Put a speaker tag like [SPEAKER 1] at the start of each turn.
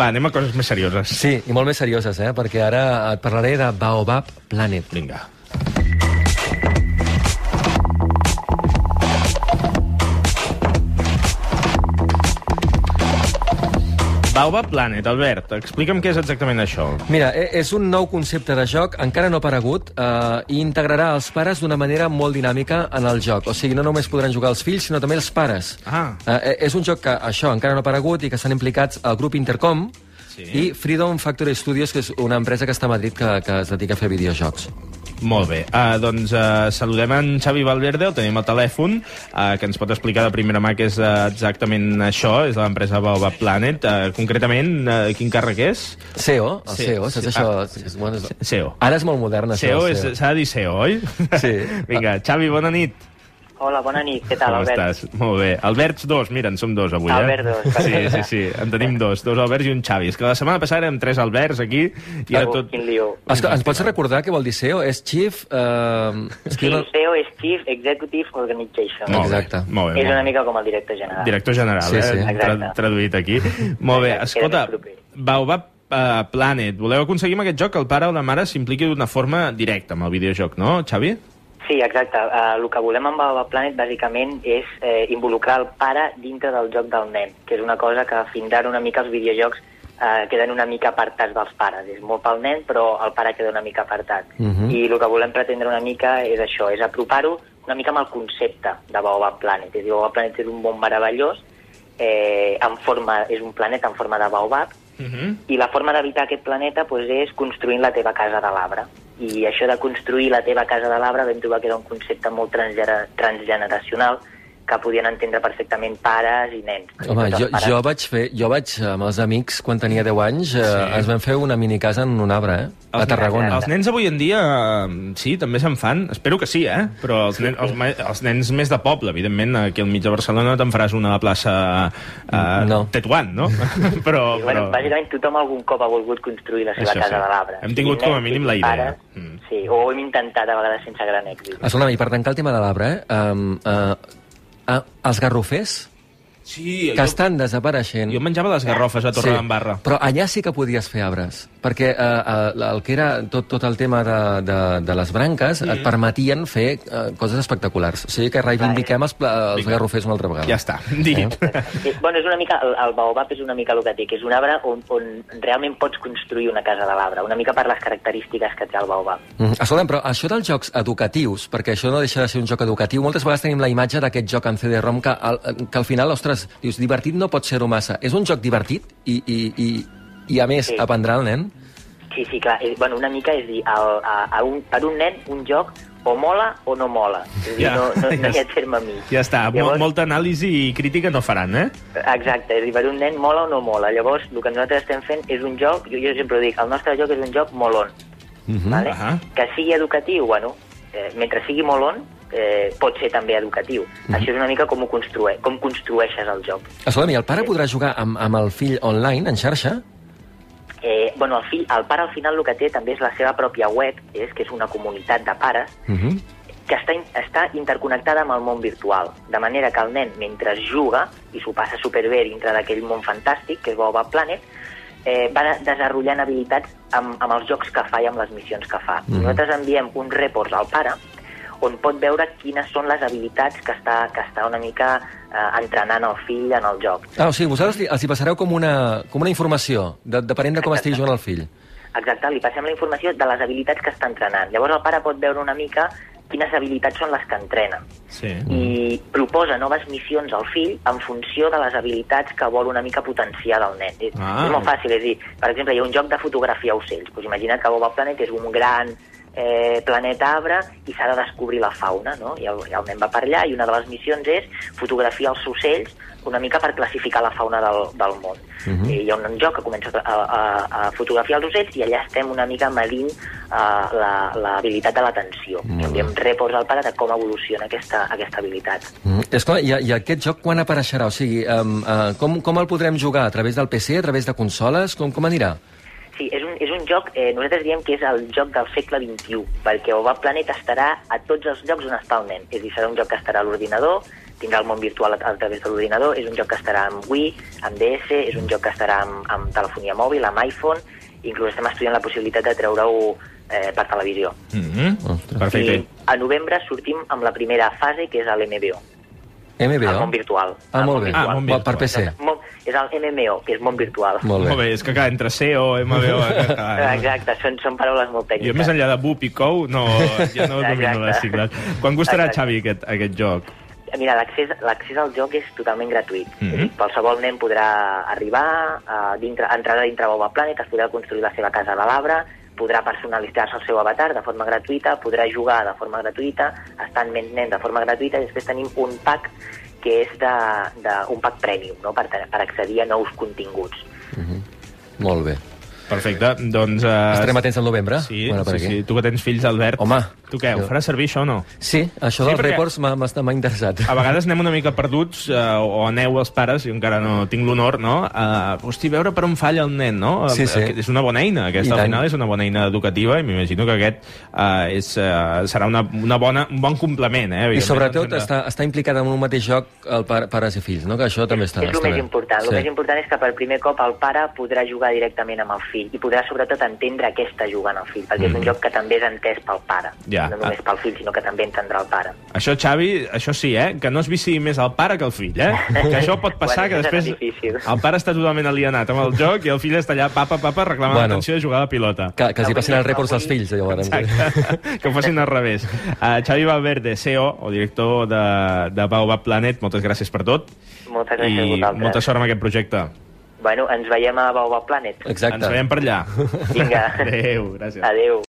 [SPEAKER 1] Va, anem a coses més serioses.
[SPEAKER 2] Sí, i molt més serioses, eh? perquè ara et parlaré de Baobab Planet.
[SPEAKER 1] Vinga. Baobab Planet, Albert, explica'm què és exactament això.
[SPEAKER 2] Mira, e- és un nou concepte de joc, encara no aparegut, eh, i integrarà els pares d'una manera molt dinàmica en el joc. O sigui, no només podran jugar els fills, sinó també els pares.
[SPEAKER 1] Ah.
[SPEAKER 2] Eh, és un joc que, això, encara no ha aparegut i que s'han implicats el grup Intercom
[SPEAKER 1] Sí.
[SPEAKER 2] sí. i Freedom Factory Studios, que és una empresa que està a Madrid que, que es dedica a fer videojocs.
[SPEAKER 1] Molt bé, uh, doncs uh, saludem en Xavi Valverde, el tenim al telèfon, uh, que ens pot explicar de primera mà què és uh, exactament això, és de l'empresa Baobab Planet. Uh, concretament, uh, quin càrrec és?
[SPEAKER 2] SEO, E el
[SPEAKER 1] Sí,
[SPEAKER 2] SEO, saps
[SPEAKER 1] sí,
[SPEAKER 2] això?
[SPEAKER 1] ah,
[SPEAKER 2] és, bueno, és...
[SPEAKER 1] SEO.
[SPEAKER 2] Ara és molt modern, això.
[SPEAKER 1] SEO,
[SPEAKER 2] el
[SPEAKER 1] E
[SPEAKER 2] E
[SPEAKER 1] és- s'ha de dir SEO, oi?
[SPEAKER 2] Sí.
[SPEAKER 1] Vinga, Xavi, bona nit.
[SPEAKER 3] Hola, bona nit. Què tal,
[SPEAKER 1] Com
[SPEAKER 3] Albert?
[SPEAKER 1] estàs? Molt bé. Alberts dos, mira, en som dos avui, eh?
[SPEAKER 3] Albert dos,
[SPEAKER 1] Sí,
[SPEAKER 3] perfecte.
[SPEAKER 1] sí, sí, en tenim dos. Dos Alberts i un Xavi. És que la setmana passada érem tres Alberts aquí i ara
[SPEAKER 3] Oh,
[SPEAKER 1] tot...
[SPEAKER 3] Quin lío.
[SPEAKER 2] Escolta, ens pots recordar què vol dir SEO? És Chief... Eh... és que
[SPEAKER 3] Sí,
[SPEAKER 2] no-
[SPEAKER 3] CEO és Chief Executive Organization.
[SPEAKER 1] Molt bé,
[SPEAKER 2] Exacte.
[SPEAKER 1] Molt bé,
[SPEAKER 3] És una
[SPEAKER 1] molt bé.
[SPEAKER 3] mica com el director general.
[SPEAKER 1] Director general,
[SPEAKER 2] Sí, sí.
[SPEAKER 1] eh? Tra
[SPEAKER 3] Exacte.
[SPEAKER 1] traduït aquí. Molt bé,
[SPEAKER 3] Exacte,
[SPEAKER 1] escolta,
[SPEAKER 3] era més proper.
[SPEAKER 1] Baobab eh, Planet, voleu aconseguir amb aquest joc que el pare o la mare s'impliqui d'una forma directa amb el videojoc, no, Xavi?
[SPEAKER 3] Sí, exacte. Uh, el que volem amb Baba Planet, bàsicament, és eh, involucrar el pare dintre del joc del nen, que és una cosa que fins ara una mica els videojocs eh, queden una mica apartats dels pares. És molt pel nen, però el pare queda una mica apartat.
[SPEAKER 2] Mhm.
[SPEAKER 3] I el que volem pretendre una mica és això, és apropar-ho una mica amb el concepte de Baobab Planet. És a dir, Baobab Planet és un món meravellós, eh, en forma, és un planeta en forma de baobab,
[SPEAKER 1] Uh -huh.
[SPEAKER 3] i la forma d'evitar aquest planeta doncs, és construint la teva casa de l'arbre. I això de construir la teva casa de l'arbre vam trobar que era un concepte molt transgener transgeneracional que podien entendre perfectament pares i nens.
[SPEAKER 2] Home,
[SPEAKER 3] Tots els
[SPEAKER 2] jo,
[SPEAKER 3] pares-
[SPEAKER 2] jo vaig fer... Jo vaig eh, amb els amics, quan tenia 10 anys, eh,
[SPEAKER 1] Sí.
[SPEAKER 2] sí. ens van fer una minicasa en un arbre, eh? A Tarragona.
[SPEAKER 1] Els nens avui en dia, eh, sí, també se'n fan. Espero que sí, eh? Però els, nen, els, ma- els nens més de poble, evidentment, aquí al mig de Barcelona te'n faràs una a la plaça eh,
[SPEAKER 2] No.
[SPEAKER 1] Tetuan, no? però,
[SPEAKER 3] Sí,
[SPEAKER 1] però...
[SPEAKER 3] Bueno, bàsicament tothom algun cop ha volgut construir la seva
[SPEAKER 1] Això
[SPEAKER 3] casa
[SPEAKER 1] sí.
[SPEAKER 3] de l'arbre.
[SPEAKER 1] Hem tingut
[SPEAKER 3] Siguin
[SPEAKER 1] com a
[SPEAKER 3] nens,
[SPEAKER 1] mínim la
[SPEAKER 3] siguin
[SPEAKER 1] idea.
[SPEAKER 3] Pares,
[SPEAKER 1] Mm.
[SPEAKER 3] Sí, o ho hem intentat a vegades sense gran èxit.
[SPEAKER 2] Escolta'm, i per tancar el tema de l'arbre, eh? Um, uh, uh, els garrofers,
[SPEAKER 1] Sí,
[SPEAKER 2] que
[SPEAKER 1] jo,
[SPEAKER 2] estan desapareixent...
[SPEAKER 1] jo menjava les garrofes a Torredembarra.
[SPEAKER 2] però allà sí que podies fer arbres, perquè eh, eh, el que era tot, tot el tema de, de, de les branques mm. et permetien fer eh, coses espectaculars. O sigui que reivindiquem els, pla- els
[SPEAKER 1] Vinga.
[SPEAKER 2] garrofers una altra vegada.
[SPEAKER 1] Ja està,
[SPEAKER 2] Eh?
[SPEAKER 1] dit.
[SPEAKER 3] Sí, Eh, bueno, és una mica, el, el baobab és una mica el que et dic, és un arbre on, on realment pots construir una casa de l'arbre, una mica per les característiques que té el baobab.
[SPEAKER 2] Mm, Escolta'm, però això dels jocs educatius, perquè això no deixa de ser un joc educatiu, moltes vegades tenim la imatge d'aquest joc en CD-ROM que, al, que al final, ostres, dius, divertit no pot ser-ho massa. És un joc divertit i, i, i, i a més,
[SPEAKER 3] Sí.
[SPEAKER 2] sí. aprendrà el nen?
[SPEAKER 3] Sí, sí, clar. És, bueno, una mica és dir, el, a, a un, per un nen, un joc o mola o no mola. És a dir,
[SPEAKER 1] Ja,
[SPEAKER 3] no, no, no
[SPEAKER 1] ja
[SPEAKER 3] hi ha
[SPEAKER 1] està.
[SPEAKER 3] terme mig.
[SPEAKER 1] Ja està, Mol,
[SPEAKER 3] Llavors,
[SPEAKER 1] molta anàlisi i crítica no faran, eh?
[SPEAKER 3] Exacte, és a dir, per un nen mola o no mola. Llavors, el que nosaltres estem fent és un joc, jo, jo sempre ho dic, el nostre joc és un joc molon. Mm -hmm. vale?
[SPEAKER 1] ahà.
[SPEAKER 3] Que sigui educatiu, bueno, eh, mentre sigui molon, eh, pot ser també educatiu.
[SPEAKER 1] Mm.
[SPEAKER 3] Això és una mica com ho construe, com construeixes el joc.
[SPEAKER 2] Escolta'm, i el pare podrà jugar amb, amb el fill online, en xarxa?
[SPEAKER 3] Eh, bueno, el, fill, el pare al final el que té també és la seva pròpia web, és que és una comunitat de pares,
[SPEAKER 2] Uh -huh.
[SPEAKER 3] que està, in- està interconnectada amb el món virtual, de manera que el nen, mentre juga, i s'ho passa superbé dintre d'aquell món fantàstic, que és Boba Planet, eh, va de- desenvolupant habilitats amb, amb els jocs que fa i amb les missions que fa. Mm. Nosaltres enviem uns reports al pare on pot veure quines són les habilitats que està, que està una mica eh, entrenant el fill en el joc.
[SPEAKER 2] Ah, o sigui, vosaltres li- els hi passareu com una, com una informació, de, depenent de com estigui jugant el fill.
[SPEAKER 3] Exacte, li passem la informació de les habilitats que està entrenant. Llavors el pare pot veure una mica quines habilitats són les que entrena.
[SPEAKER 1] Sí.
[SPEAKER 3] i proposa noves missions al fill en funció de les habilitats que vol una mica potenciar del nen. És,
[SPEAKER 1] Ah.
[SPEAKER 3] ah. és molt fàcil, és a dir, per exemple, hi ha un joc de fotografia ocells. Pues imagina't que Boba Planet és un gran eh, planeta arbre i s'ha de descobrir la fauna, no? I el, i el nen va per allà i una de les missions és fotografiar els ocells una mica per classificar la fauna del, del món. Uh -huh. Hi ha un joc que comença a, a, a fotografiar els ocells i allà estem una mica medint eh, la- l'habilitat de l'atenció. Enviem reports al pare de com evoluciona aquesta, aquesta habilitat.
[SPEAKER 2] Mm. Escolta, i, i aquest joc quan apareixerà? O sigui, um, uh, com, com el podrem jugar? A través del PC, a través de consoles? Com, com anirà?
[SPEAKER 3] Sí, és un, és un joc, eh, nosaltres diem que és el joc del segle XXI, perquè Oval Planet estarà a tots els llocs on està el nen. És a dir, serà un joc que estarà a l'ordinador, tindrà el món virtual a, a través de l'ordinador, és un joc que estarà amb Wii, amb DS, és un joc que estarà amb, amb telefonia mòbil, amb iPhone, inclús estem estudiant la possibilitat de treure-ho eh, per televisió.
[SPEAKER 1] Mm -hmm. Perfecte.
[SPEAKER 3] I a novembre sortim amb la primera fase, que és l'MBO,
[SPEAKER 2] MBO?
[SPEAKER 3] el món virtual.
[SPEAKER 2] Ah,
[SPEAKER 3] El
[SPEAKER 2] molt
[SPEAKER 3] món
[SPEAKER 2] bé.
[SPEAKER 1] Ah,
[SPEAKER 3] virtual.
[SPEAKER 1] món virtual.
[SPEAKER 2] Per PC.
[SPEAKER 3] Món- És el MMO, que és món virtual.
[SPEAKER 2] Molt
[SPEAKER 1] Molt
[SPEAKER 2] bé.
[SPEAKER 1] bé, és que clar, entre CEO, MBO... Exacte.
[SPEAKER 3] Ah, Exacte, són, són paraules molt
[SPEAKER 1] eh, Jo
[SPEAKER 3] tècniques.
[SPEAKER 1] més enllà de bup i cou, no, ja no domino
[SPEAKER 3] Exacte.
[SPEAKER 1] les sigles. Quan costarà,
[SPEAKER 3] Exacte.
[SPEAKER 1] Xavi, aquest, aquest joc?
[SPEAKER 3] Mira, l'accés l'accés al joc és totalment gratuït. Mm
[SPEAKER 1] Mhm.
[SPEAKER 3] -hmm. Qualsevol nen podrà arribar, a dintre, a entrar a dintre Boba Planet, es podrà construir la seva casa de l'arbre, podrà personalitzar-se el seu avatar de forma gratuïta, podrà jugar de forma gratuïta, estant més nen de forma gratuïta, i després tenim un pack que és de, de, un pack premium, no? per, per accedir a nous continguts.
[SPEAKER 2] Molt bé.
[SPEAKER 1] Perfecte, doncs... Uh,
[SPEAKER 2] Estarem atents al novembre?
[SPEAKER 1] Sí,
[SPEAKER 2] Bueno, per
[SPEAKER 1] sí,
[SPEAKER 2] aquí.
[SPEAKER 1] sí. Tu que tens fills, Albert.
[SPEAKER 2] Home.
[SPEAKER 1] Tu què, ho
[SPEAKER 2] Jo-
[SPEAKER 1] faràs servir, això, o no?
[SPEAKER 2] Sí, això
[SPEAKER 1] Sí,
[SPEAKER 2] dels
[SPEAKER 1] perquè- Ah,
[SPEAKER 2] reports m'ha m'ha- m'ha interessat.
[SPEAKER 1] A vegades anem una mica perduts, eh, o aneu els pares, jo encara no tinc l'honor, no? Eh, hosti, veure per on falla el nen, no?
[SPEAKER 2] Sí, sí.
[SPEAKER 1] Eh, És una bona eina,
[SPEAKER 2] I
[SPEAKER 1] aquesta, al
[SPEAKER 2] tant.
[SPEAKER 1] final és una bona eina educativa, i m'imagino que aquest eh, és, eh, serà una, una bona, un bon complement, eh?
[SPEAKER 2] I
[SPEAKER 1] evidentment,
[SPEAKER 2] sobretot
[SPEAKER 1] ens hem de-
[SPEAKER 2] està, està implicat en un mateix joc el pare, pares i fills, no? que això també està,
[SPEAKER 3] és el
[SPEAKER 2] està
[SPEAKER 3] més
[SPEAKER 2] bé.
[SPEAKER 3] important. El més important és que per primer cop el pare podrà jugar directament amb el fill i podrà sobretot entendre què està jugant el fill, perquè mm. és un joc que també és entès pel pare,
[SPEAKER 1] Ja.
[SPEAKER 3] no
[SPEAKER 2] Ah.
[SPEAKER 3] només pel fill, sinó que també entendrà el pare.
[SPEAKER 1] Això, Xavi, això sí, eh? Que no es vici més el pare que el fill, eh? Que això pot passar,
[SPEAKER 3] Bueno,
[SPEAKER 1] que
[SPEAKER 3] això serà
[SPEAKER 1] després...
[SPEAKER 3] difícil.
[SPEAKER 1] El pare està totalment alienat amb el joc i el fill està allà, papa, papa, reclamant
[SPEAKER 2] Bueno.
[SPEAKER 1] bueno. l'atenció de jugar a la pilota.
[SPEAKER 2] Que, que els hi
[SPEAKER 3] Avui
[SPEAKER 2] passin els
[SPEAKER 3] no,
[SPEAKER 2] reports als
[SPEAKER 3] avui-
[SPEAKER 2] fills, llavors.
[SPEAKER 1] Exacte, que ho facin al revés. Uh, Xavi Valverde, CEO, o director de, de Baobab Planet, moltes gràcies per tot.
[SPEAKER 3] Moltes gràcies a
[SPEAKER 1] I
[SPEAKER 3] vosaltres.
[SPEAKER 1] molta sort amb aquest projecte.
[SPEAKER 3] Bueno, ens veiem a Baobab Planet.
[SPEAKER 2] Exacte.
[SPEAKER 1] Ens veiem per allà.
[SPEAKER 3] Vinga,
[SPEAKER 1] Adéu, gràcies.
[SPEAKER 3] adeu.